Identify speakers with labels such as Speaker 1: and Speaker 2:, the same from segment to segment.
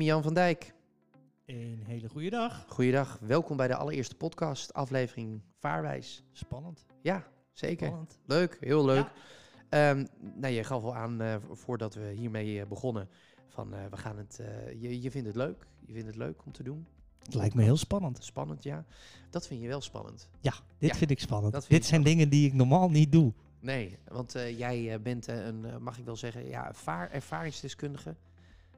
Speaker 1: Jan van Dijk,
Speaker 2: Een hele goede dag.
Speaker 1: goeiedag. Welkom bij de allereerste podcast, aflevering Vaarwijs.
Speaker 2: Spannend.
Speaker 1: Ja, zeker.
Speaker 2: Spannend.
Speaker 1: Leuk, heel leuk. Ehm, nou, je gaf al aan eh, vo- voordat we hiermee eh, begonnen. Van eh, we gaan het. eh, je, je vindt het leuk. Je vindt het leuk om te doen.
Speaker 2: Het lijkt me heel spannend.
Speaker 1: Spannend, ja. Dat vind je wel spannend.
Speaker 2: Ja, dit
Speaker 1: Ja,
Speaker 2: vind ik spannend.
Speaker 1: dat vind
Speaker 2: dit
Speaker 1: ik
Speaker 2: zijn dingen die ik normaal niet doe.
Speaker 1: Nee, want eh, jij eh, bent eh, een, eh, mag ik wel zeggen, ja, vaar, ervaringsdeskundige.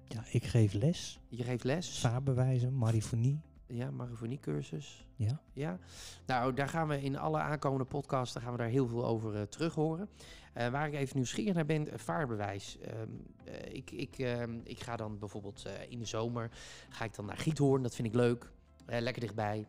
Speaker 2: Ja, ik geef les,
Speaker 1: Je geeft les.
Speaker 2: vaarbewijzen, marifonie.
Speaker 1: Ja, marifoniecursus.
Speaker 2: Ja.
Speaker 1: ja. Nou, daar gaan we in alle aankomende podcasts daar gaan we daar heel veel over eh terug horen. Eh, waar ik even nieuwsgierig naar ben, eh, vaarbewijs. Ehm, eh, ik, ik, ehm, ik ga dan bijvoorbeeld eh, in de zomer ga ik dan naar Giethoorn. Dat vind ik leuk. Eh, lekker dichtbij.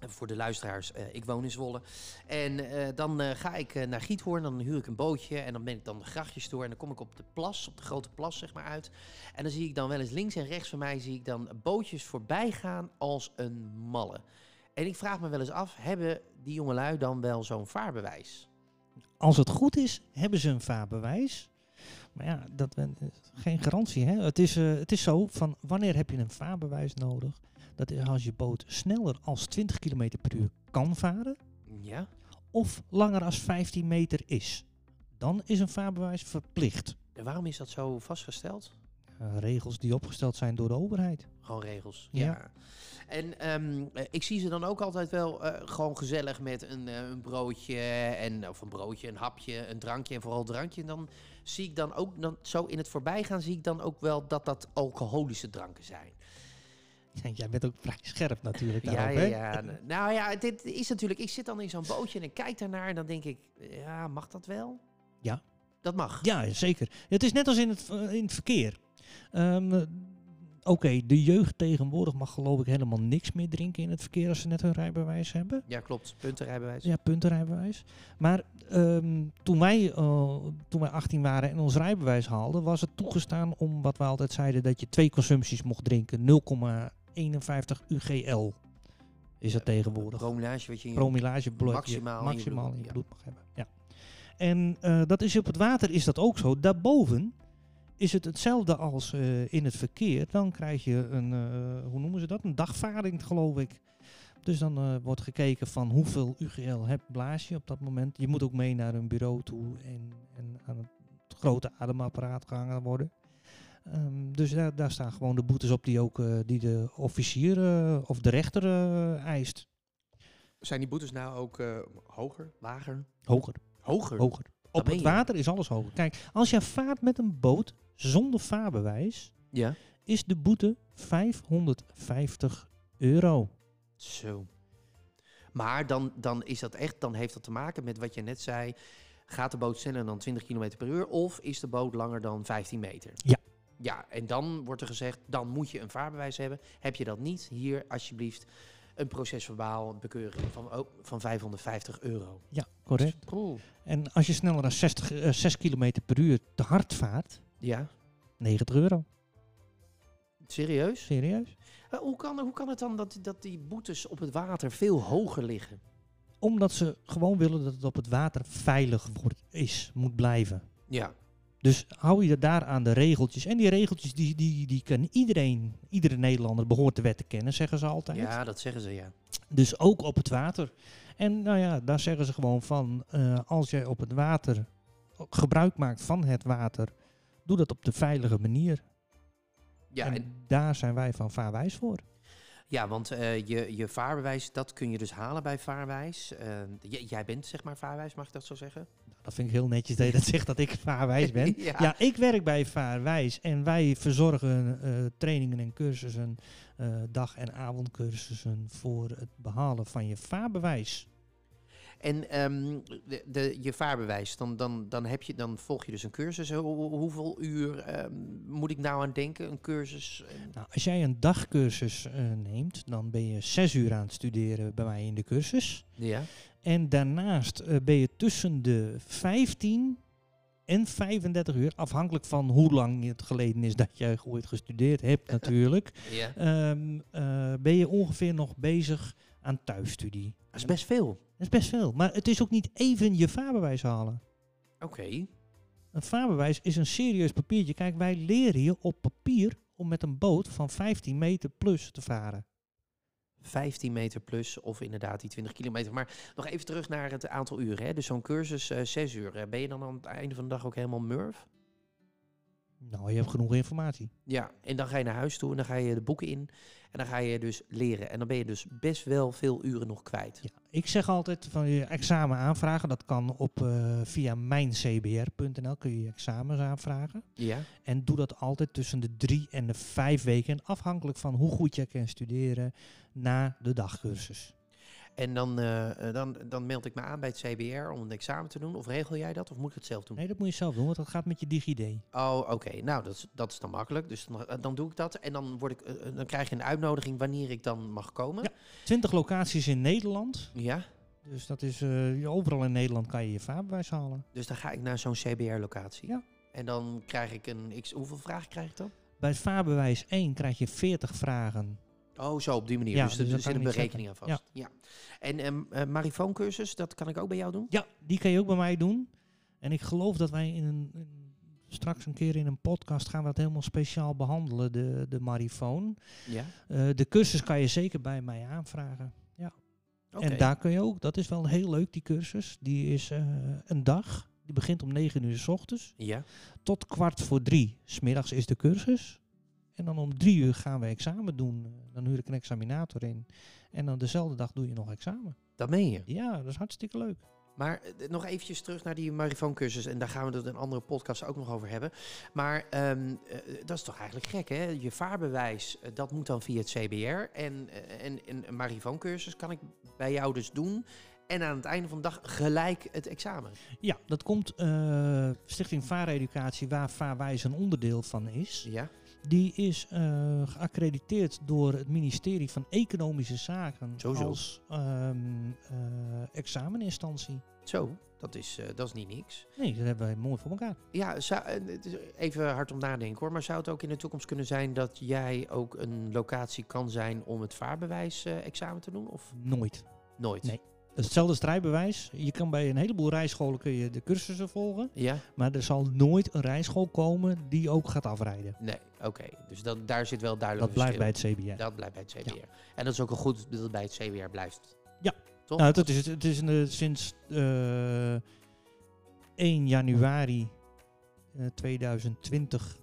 Speaker 1: En voor de luisteraars, eh, ik woon in Zwolle. En eh, dan eh, ga ik eh, naar Giethoorn, dan huur ik een bootje en dan ben ik dan de grachtjes door. En dan kom ik op de plas, op de grote plas zeg maar uit. En dan zie ik dan wel eens links en rechts van mij zie ik dan bootjes voorbij gaan als een malle. En ik vraag me wel eens af, hebben die jongelui dan wel zo'n vaarbewijs?
Speaker 2: Als het goed is, hebben ze een vaarbewijs. Maar ja, dat ben, eh, geen garantie. Hè? Het, is, eh, het is zo, van wanneer heb je een vaarbewijs nodig? Dat is als je boot sneller als 20 km per uur kan varen
Speaker 1: Ja.
Speaker 2: of langer als 15 meter is. Dan is een vaarbewijs verplicht.
Speaker 1: En waarom is dat zo vastgesteld?
Speaker 2: Eh, regels die opgesteld zijn door de overheid.
Speaker 1: Gewoon regels. Ja.
Speaker 2: Ja.
Speaker 1: En ehm, eh, ik zie ze dan ook altijd wel eh, gewoon gezellig met een, eh, een broodje en of een broodje, een hapje, een drankje en vooral drankje. En dan zie ik dan ook dan, zo in het voorbijgaan zie ik dan ook wel dat dat alcoholische dranken zijn.
Speaker 2: Ja, Jij bent ook vrij scherp natuurlijk
Speaker 1: Ja,
Speaker 2: daarop,
Speaker 1: ja,
Speaker 2: hè?
Speaker 1: ja. N- Nou ja, dit is natuurlijk. Ik zit dan in zo'n bootje en ik kijk daarnaar en dan denk ik, ja, mag dat wel?
Speaker 2: Ja.
Speaker 1: Dat mag.
Speaker 2: Ja, zeker. Het is net als in het, v- in het verkeer. Ehm, eh, Oké, de jeugd tegenwoordig mag geloof ik helemaal niks meer drinken in het verkeer als ze net hun rijbewijs hebben.
Speaker 1: Ja, klopt. Puntenrijbewijs.
Speaker 2: Ja, puntenrijbewijs. Maar ehm, toen, wij, eh, toen wij 18 waren en ons rijbewijs haalden, was het toegestaan om wat we altijd zeiden, dat je twee consumpties mocht drinken. 0,51 UGL is dat
Speaker 1: Eh,
Speaker 2: tegenwoordig.
Speaker 1: Promillage wat je in je-
Speaker 2: promillage bloed,
Speaker 1: Maximaal in je
Speaker 2: je, maximaal
Speaker 1: bloed,
Speaker 2: in je
Speaker 1: ja.
Speaker 2: bloed mag hebben. Ja. En eh, dat is op het water is dat ook zo. Daarboven is het hetzelfde als eh, in het verkeer. Dan krijg je een, eh, hoe noemen ze dat? Een dagvaarding, geloof ik. Dus dan eh, wordt gekeken van hoeveel UGL heb blaas je op dat moment. Je moet ook mee naar een bureau toe en, en aan het grote ademapparaat gehangen worden. Ehm, dus daar, daar staan gewoon de boetes op die, ook, eh, die de officier eh, of de rechter eh, eist.
Speaker 1: Zijn die boetes nou ook eh, hoger, lager?
Speaker 2: Hoger.
Speaker 1: Hoger.
Speaker 2: Hoger. Op
Speaker 1: ben
Speaker 2: het
Speaker 1: je.
Speaker 2: water is alles hoger. Kijk, als jij vaart met een boot zonder vaarbewijs,
Speaker 1: Ja.
Speaker 2: is de boete 550 euro.
Speaker 1: Zo. Maar dan, dan is dat echt, dan heeft dat te maken met wat je net zei. Gaat de boot sneller dan 20 km per uur of is de boot langer dan 15 meter?
Speaker 2: Ja.
Speaker 1: Ja, en dan wordt er gezegd, dan moet je een vaarbewijs hebben. Heb je dat niet, hier alsjeblieft een procesverbaal, een bekeuring van, oh, van 550 euro.
Speaker 2: Ja, correct.
Speaker 1: Cool.
Speaker 2: En als je sneller dan 60, eh, 6 km per uur te hard vaart,
Speaker 1: Ja,
Speaker 2: 90 euro.
Speaker 1: serieus?
Speaker 2: Serieus?
Speaker 1: Eh, hoe, kan, hoe kan het dan dat, dat die boetes op het water veel hoger liggen?
Speaker 2: Omdat ze gewoon willen dat het op het water veilig wordt, is, moet blijven.
Speaker 1: Ja,
Speaker 2: Dus hou je daar aan de regeltjes. En die regeltjes, die, die, die kan iedereen, iedere Nederlander behoort de wet te kennen, zeggen ze altijd.
Speaker 1: ja dat zeggen ze ja.
Speaker 2: Dus ook op het water. En nou ja, daar zeggen ze gewoon van, eh, als jij op het water gebruik maakt van het water, doe dat op de veilige manier.
Speaker 1: Ja,
Speaker 2: en,
Speaker 1: en-
Speaker 2: daar zijn wij van vaarwijs voor.
Speaker 1: Ja, want eh, je, je vaarbewijs, dat kun je dus halen bij vaarwijs. Eh, j- jij bent zeg maar vaarwijs, mag ik dat zo zeggen?
Speaker 2: Dat vind ik heel netjes dat je dat zegt dat ik vaarwijs ben.
Speaker 1: ja.
Speaker 2: Ja, ik werk bij Vaarwijs en wij verzorgen eh, trainingen en cursussen, eh, dag- en avondcursussen voor het behalen van je vaarbewijs.
Speaker 1: En ehm, de, de- je vaarbewijs, dan, dan, dan, heb je, dan volg je dus een cursus. Hoe- hoe- hoeveel uur ehm, moet ik nou aan denken? Een cursus? eh,
Speaker 2: Nou, als jij een dagcursus eh, neemt, dan ben je zes uur aan het studeren bij mij in de cursus.
Speaker 1: ja.
Speaker 2: En daarnaast eh, ben je tussen de 15 en 35 uur, afhankelijk van hoe lang het geleden is dat jij ooit gestudeerd hebt natuurlijk,
Speaker 1: ja.
Speaker 2: ehm, eh, ben je ongeveer nog bezig aan thuisstudie.
Speaker 1: Dat is best veel.
Speaker 2: Dat is best veel, maar het is ook niet even je vaarbewijs halen.
Speaker 1: Oké.
Speaker 2: Een vaarbewijs is een serieus papiertje. Kijk, wij leren je op papier om met een boot van 15 meter plus te varen.
Speaker 1: 15 meter plus of inderdaad die 20 kilometer. Maar nog even terug naar het aantal uren. Hè? Dus zo'n cursus eh 6 uur. Eh, Ben je dan aan het einde van de dag ook helemaal murf?
Speaker 2: Nou, je hebt genoeg informatie.
Speaker 1: Ja, en dan ga je naar huis toe en dan ga je de boeken in. En dan ga je dus leren. En dan ben je dus best wel veel uren nog kwijt.
Speaker 2: Ja, ik zeg altijd van je examen aanvragen, dat kan op, eh, via mijncbr.nl kun je je examens aanvragen.
Speaker 1: Ja,
Speaker 2: En doe dat altijd tussen de drie en de vijf weken, en afhankelijk van hoe goed je kan studeren na de dagcursus.
Speaker 1: en dan, eh, eh, dan, dan meld ik me aan bij het CBR om een examen te doen. Of regel jij dat of moet ik het zelf doen?
Speaker 2: Nee, dat moet je zelf doen, want dat gaat met je DigiD.
Speaker 1: Oh, oké. Nou, dat is, dat is dan makkelijk. Dus dan, eh, dan doe ik dat. En dan, word ik, eh, eh, dan krijg je een uitnodiging wanneer ik dan mag komen.
Speaker 2: Ja. 20 locaties in Nederland.
Speaker 1: ja?
Speaker 2: Dus dat is, eh, overal in Nederland kan je je vaarbewijs halen.
Speaker 1: Dus dan ga ik naar zo'n CBR-locatie.
Speaker 2: Ja.
Speaker 1: En dan krijg ik een x. Hoeveel vragen krijg ik dan?
Speaker 2: Bij het vaarbewijs 1 krijg je 40 vragen.
Speaker 1: Oh, zo op die manier.
Speaker 2: Ja,
Speaker 1: dus er
Speaker 2: dus dat
Speaker 1: er
Speaker 2: kan
Speaker 1: zit een
Speaker 2: ik niet
Speaker 1: berekening aan vast. Ja. En ehm eh, marifoon-cursus, dat kan ik ook bij jou doen?
Speaker 2: Ja, die kan je ook bij mij doen. En ik geloof dat wij in een, in- straks een keer in een podcast gaan we dat helemaal speciaal behandelen, de, de marifoon.
Speaker 1: Ja.
Speaker 2: Eh, de cursus kan je zeker bij mij aanvragen.
Speaker 1: Oké.
Speaker 2: En daar kun je ook, dat is wel heel leuk, die cursus. Die is eh, een dag, die begint om 9 uur s ochtends
Speaker 1: Ja.
Speaker 2: tot kwart voor drie. Smiddags is de cursus. En dan om drie uur gaan we examen doen. Dan huur ik een examinator in. En dan dezelfde dag doe je nog examen.
Speaker 1: Dat meen je.
Speaker 2: Ja, dat is hartstikke leuk.
Speaker 1: Maar eh, nog eventjes terug naar die marifoon-cursus. En daar gaan we het in een andere podcast ook nog over hebben. Maar ehm, eh, dat is toch eigenlijk gek, hè? Je vaarbewijs, eh, dat moet dan via het CBR. En, eh, en, en een marifoon-cursus kan ik bij jou dus doen. En aan het einde van de dag gelijk het examen.
Speaker 2: Ja, dat komt eh, Stichting Vaareducatie, waar Vaarwijs een onderdeel van is.
Speaker 1: Ja.
Speaker 2: Die is eh, geaccrediteerd door het ministerie van Economische Zaken
Speaker 1: Zo, zo.
Speaker 2: als ehm, eh, exameninstantie.
Speaker 1: Zo, dat is, eh, dat is niet niks.
Speaker 2: Nee, dat hebben wij mooi voor elkaar.
Speaker 1: Ja, zou, en het is even hard om nadenken hoor. Maar zou het ook in de toekomst kunnen zijn dat jij ook een locatie kan zijn om het vaarbewijs-examen te doen? Of
Speaker 2: Nooit.
Speaker 1: nooit?
Speaker 2: Nee. Dat is hetzelfde als het rijbewijs. Je kan bij een heleboel rijscholen kun je de cursussen volgen.
Speaker 1: Ja?
Speaker 2: Maar er zal nooit een rijschool komen die ook gaat afrijden.
Speaker 1: Nee, oké. Dus dat, daar zit wel duidelijk
Speaker 2: Dat
Speaker 1: een
Speaker 2: blijft bij
Speaker 1: verschil.
Speaker 2: het CBR.
Speaker 1: Dat blijft bij het CBR. En dat is ook een goed dat het bij het CBR blijft.
Speaker 2: Ja.
Speaker 1: Toch?
Speaker 2: Nou, dat is, het. het is een, eh, sinds eh, 1 januari eh, 2020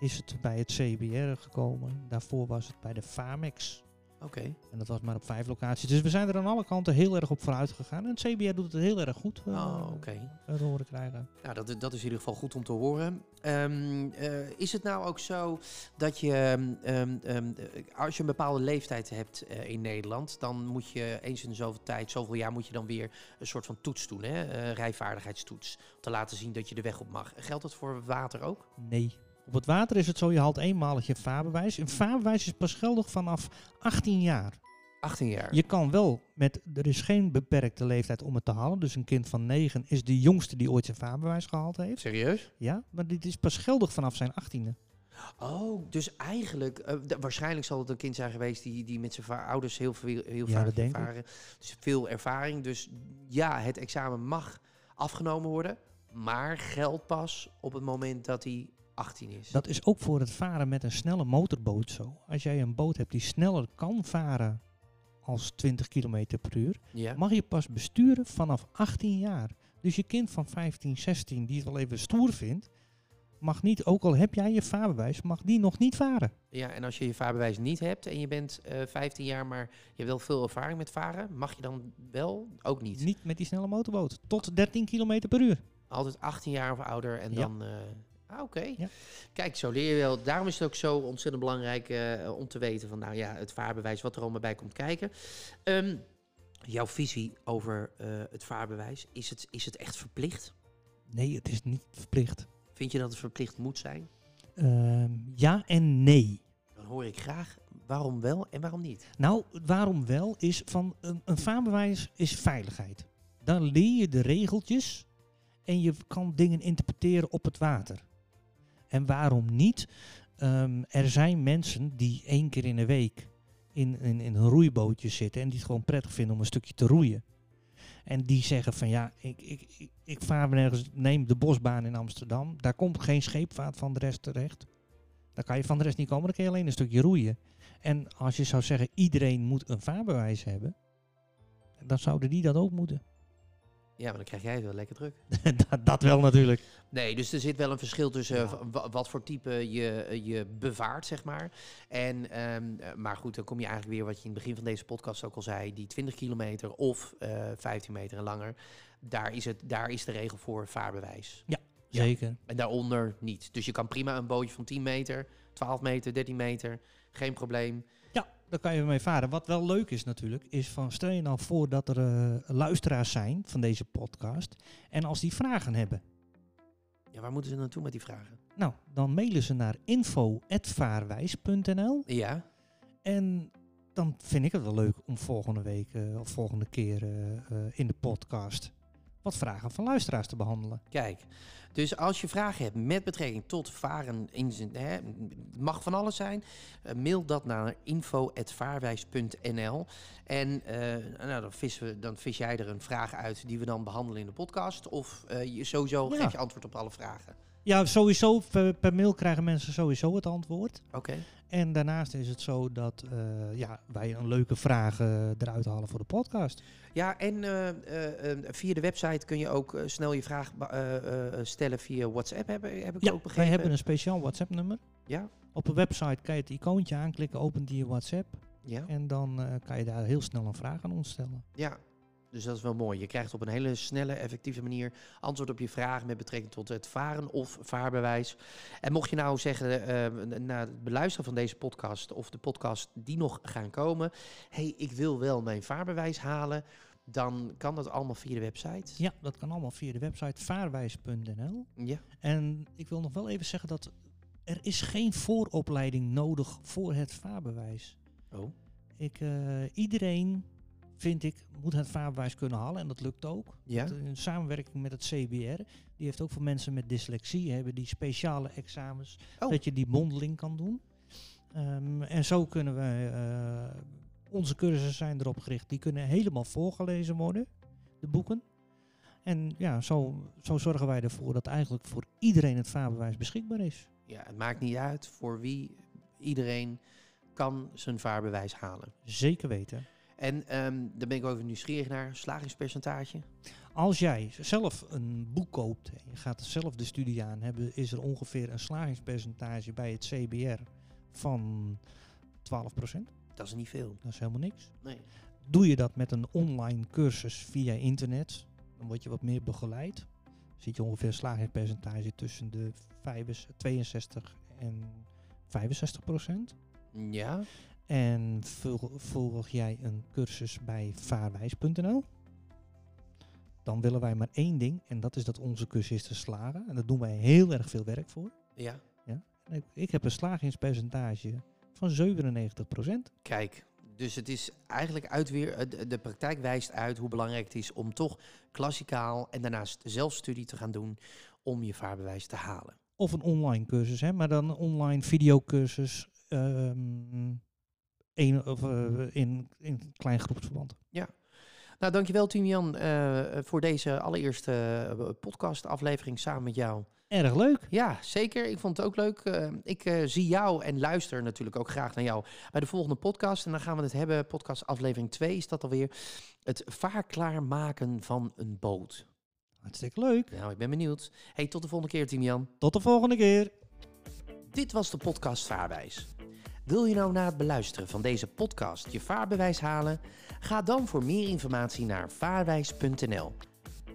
Speaker 2: is het bij het CBR gekomen. Daarvoor was het bij de FAMEX.
Speaker 1: Oké.
Speaker 2: En dat was maar op vijf locaties. Dus we zijn er aan alle kanten heel erg op vooruit gegaan. En het CBR doet het heel erg goed. eh,
Speaker 1: Oh, oké.
Speaker 2: eh, te horen krijgen.
Speaker 1: Nou, dat, dat is in ieder geval goed om te horen. Ehm, eh, is het nou ook zo dat je, ehm, ehm, eh, als je een bepaalde leeftijd hebt eh, in Nederland, dan moet je eens in zoveel tijd, zoveel jaar, moet je dan weer een soort van toets doen, hè? Eh, rijvaardigheidstoets, om te laten zien dat je de weg op mag. Geldt dat voor water ook?
Speaker 2: Nee. Op het water is het zo, je haalt eenmalig je vaarbewijs. Een vaarbewijs is pas geldig vanaf 18 jaar.
Speaker 1: 18 jaar.
Speaker 2: Je kan wel met, er is geen beperkte leeftijd om het te halen. Dus een kind van 9 is de jongste die ooit zijn vaarbewijs gehaald heeft.
Speaker 1: Serieus?
Speaker 2: Ja, maar dit is pas geldig vanaf zijn 18e.
Speaker 1: Oh, dus eigenlijk, eh, d- waarschijnlijk zal het een kind zijn geweest die, die met zijn va- ouders heel veel heel
Speaker 2: Ja,
Speaker 1: vaak
Speaker 2: dat denk ik.
Speaker 1: ervaren. Dus veel ervaring. Dus ja, het examen mag afgenomen worden, maar geldt pas op het moment dat hij 18 is.
Speaker 2: Dat is ook voor het varen met een snelle motorboot zo. Als jij een boot hebt die sneller kan varen als 20 km per uur,
Speaker 1: ja.
Speaker 2: mag je pas besturen vanaf 18 jaar. Dus je kind van 15, 16 die het wel even stoer vindt, mag niet, ook al heb jij je vaarbewijs, mag die nog niet varen.
Speaker 1: ja, en als je je vaarbewijs niet hebt en je bent eh, 15 jaar, maar je hebt wel veel ervaring met varen, mag je dan wel ook niet?
Speaker 2: Niet met die snelle motorboot. Tot 13 km per uur.
Speaker 1: Altijd 18 jaar of ouder en
Speaker 2: Ja.
Speaker 1: dan. eh, ah, Oké.
Speaker 2: Ja.
Speaker 1: Kijk, zo leer je wel. Daarom is het ook zo ontzettend belangrijk eh, om te weten van, nou ja, het vaarbewijs, wat er allemaal bij komt kijken. Ehm, jouw visie over eh, het vaarbewijs, is het, is het echt verplicht?
Speaker 2: Nee, het is niet verplicht.
Speaker 1: Vind je dat het verplicht moet zijn?
Speaker 2: Ehm, ja en nee.
Speaker 1: Dan hoor ik graag waarom wel en waarom niet.
Speaker 2: Nou, waarom wel is van een, een vaarbewijs is veiligheid. Dan leer je de regeltjes en je kan dingen interpreteren op het water. En waarom niet? Ehm, er zijn mensen die één keer in de week in, in, in een roeibootje zitten en die het gewoon prettig vinden om een stukje te roeien. En die zeggen van ja, ik, ik, ik, ik vaar nergens, neem de bosbaan in Amsterdam, daar komt geen scheepvaart van de rest terecht. Dan kan je van de rest niet komen, dan kun je alleen een stukje roeien. En als je zou zeggen, iedereen moet een vaarbewijs hebben, dan zouden die dat ook moeten.
Speaker 1: Ja, maar dan krijg jij het wel lekker druk.
Speaker 2: dat, dat wel natuurlijk.
Speaker 1: Nee, dus er zit wel een verschil tussen
Speaker 2: Ja.
Speaker 1: eh, wa- wa- wat voor type je, eh, je bevaart, zeg maar. En, ehm, eh, maar goed, dan kom je eigenlijk weer wat je in het begin van deze podcast ook al zei. Die 20 kilometer of eh 15 meter en langer. Daar is, het, daar is de regel voor vaarbewijs. Ja.
Speaker 2: Zeker.
Speaker 1: En daaronder niet. Dus je kan prima een bootje van 10 meter, 12 meter, 13 meter. Geen probleem.
Speaker 2: Ja, daar kan je mee varen. Wat wel leuk is natuurlijk, is van stel je nou voor dat er eh, luisteraars zijn van deze podcast. En als die vragen hebben,
Speaker 1: Ja, waar moeten ze naartoe met die vragen?
Speaker 2: nou, dan mailen ze naar info.vaarwijs.nl.
Speaker 1: Ja,
Speaker 2: En dan vind ik het wel leuk om volgende week eh, of volgende keer eh, eh, in de podcast wat vragen van luisteraars te behandelen.
Speaker 1: Kijk, dus als je vragen hebt met betrekking tot varen, in zijn, hè, het mag van alles zijn, eh, mail dat naar info.vaarwijs.nl. En eh, nou, dan, vissen we, dan vis jij er een vraag uit die we dan behandelen in de podcast. Of eh, je, sowieso
Speaker 2: Ja.
Speaker 1: geef je antwoord op alle vragen.
Speaker 2: Ja, sowieso, per, per mail krijgen mensen sowieso het antwoord.
Speaker 1: Oké.
Speaker 2: En daarnaast is het zo dat eh, ja, wij een leuke vraag eh, eruit halen voor de podcast.
Speaker 1: Ja, en eh, eh, eh, via de website kun je ook eh, snel je vraag be- eh, eh, stellen via WhatsApp, heb, heb ik
Speaker 2: Ja,
Speaker 1: ook begrepen.
Speaker 2: wij hebben een speciaal WhatsApp-nummer.
Speaker 1: Ja.
Speaker 2: Op de website kan je het icoontje aanklikken, opent je WhatsApp.
Speaker 1: Ja.
Speaker 2: En dan eh, kan je daar heel snel een vraag aan ons stellen.
Speaker 1: Ja, dus dat is wel mooi. Je krijgt op een hele snelle, effectieve manier antwoord op je vraag met betrekking tot het varen of vaarbewijs. En mocht je nou zeggen, eh, na het beluisteren van deze podcast of de podcast die nog gaan komen, hé, hey, ik wil wel mijn vaarbewijs halen, dan kan dat allemaal via de website.
Speaker 2: Ja, dat kan allemaal via de website vaarwijs.nl.
Speaker 1: Ja.
Speaker 2: En ik wil nog wel even zeggen dat er is geen vooropleiding nodig voor het vaarbewijs.
Speaker 1: Oh.
Speaker 2: Ik, eh, iedereen, vind ik, moet het vaarbewijs kunnen halen en dat eh, lukt ook.
Speaker 1: Ja.
Speaker 2: Want In samenwerking met het CBR, die heeft ook voor mensen met dyslexie, hebben die speciale examens,
Speaker 1: Oh.
Speaker 2: dat je die mondeling kan doen. Ehm, en zo kunnen we, eh, onze cursussen zijn erop gericht, die kunnen helemaal voorgelezen worden, de boeken. En ja, zo, zo zorgen wij ervoor dat eigenlijk voor iedereen het vaarbewijs beschikbaar is.
Speaker 1: ja, het maakt niet uit voor wie iedereen kan zijn vaarbewijs halen.
Speaker 2: Zeker weten.
Speaker 1: En ehm daar ben ik ook even nieuwsgierig naar, slagingspercentage.
Speaker 2: Als jij zelf een boek koopt en je gaat zelf de studie aan hebben, is er ongeveer een slagingspercentage bij het CBR van 12%.
Speaker 1: Dat is niet veel.
Speaker 2: Dat is helemaal niks.
Speaker 1: Nee.
Speaker 2: Doe je dat met een online cursus via internet, dan word je wat meer begeleid. Zit je ongeveer een slagingspercentage tussen de 65, 62 en 65 procent.
Speaker 1: Ja.
Speaker 2: En vol- volg jij een cursus bij vaarwijs.nl? Dan willen wij maar één ding en dat is dat onze cursisten slagen. En daar doen wij heel erg veel werk voor.
Speaker 1: Ja.
Speaker 2: En ik- Ik heb een slagingspercentage van 97%.
Speaker 1: Kijk, dus het is eigenlijk uit weer, eh, de- de praktijk wijst uit hoe belangrijk het is om toch klassikaal en daarnaast zelfstudie te gaan doen om je vaarbewijs te halen.
Speaker 2: Of een online cursus, hè, maar dan een online videocursus ehm een, of, eh, in, in klein groepsverband.
Speaker 1: Nou, dankjewel Timian eh voor deze allereerste eh, podcastaflevering samen met jou.
Speaker 2: Erg leuk.
Speaker 1: Ja, zeker. Ik vond het ook leuk. Eh, ik eh, zie jou en luister natuurlijk ook graag naar jou bij de volgende podcast. En dan gaan we het hebben, podcast aflevering 2 is dat alweer, het vaarklaarmaken van een boot.
Speaker 2: Hartstikke leuk.
Speaker 1: Nou, ik ben benieuwd. Hey, tot de volgende keer Timian.
Speaker 2: Tot de volgende keer.
Speaker 1: Dit was de podcast Vaarwijs. Wil je nou na het beluisteren van deze podcast je vaarbewijs halen? Ga dan voor meer informatie naar vaarwijs.nl.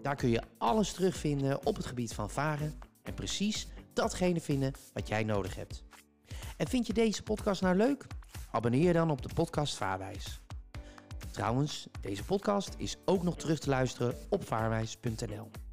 Speaker 1: Daar kun je alles terugvinden op het gebied van varen en precies datgene vinden wat jij nodig hebt. En vind je deze podcast nou leuk? Abonneer je dan op de podcast Vaarwijs. Trouwens, deze podcast is ook nog terug te luisteren op vaarwijs.nl.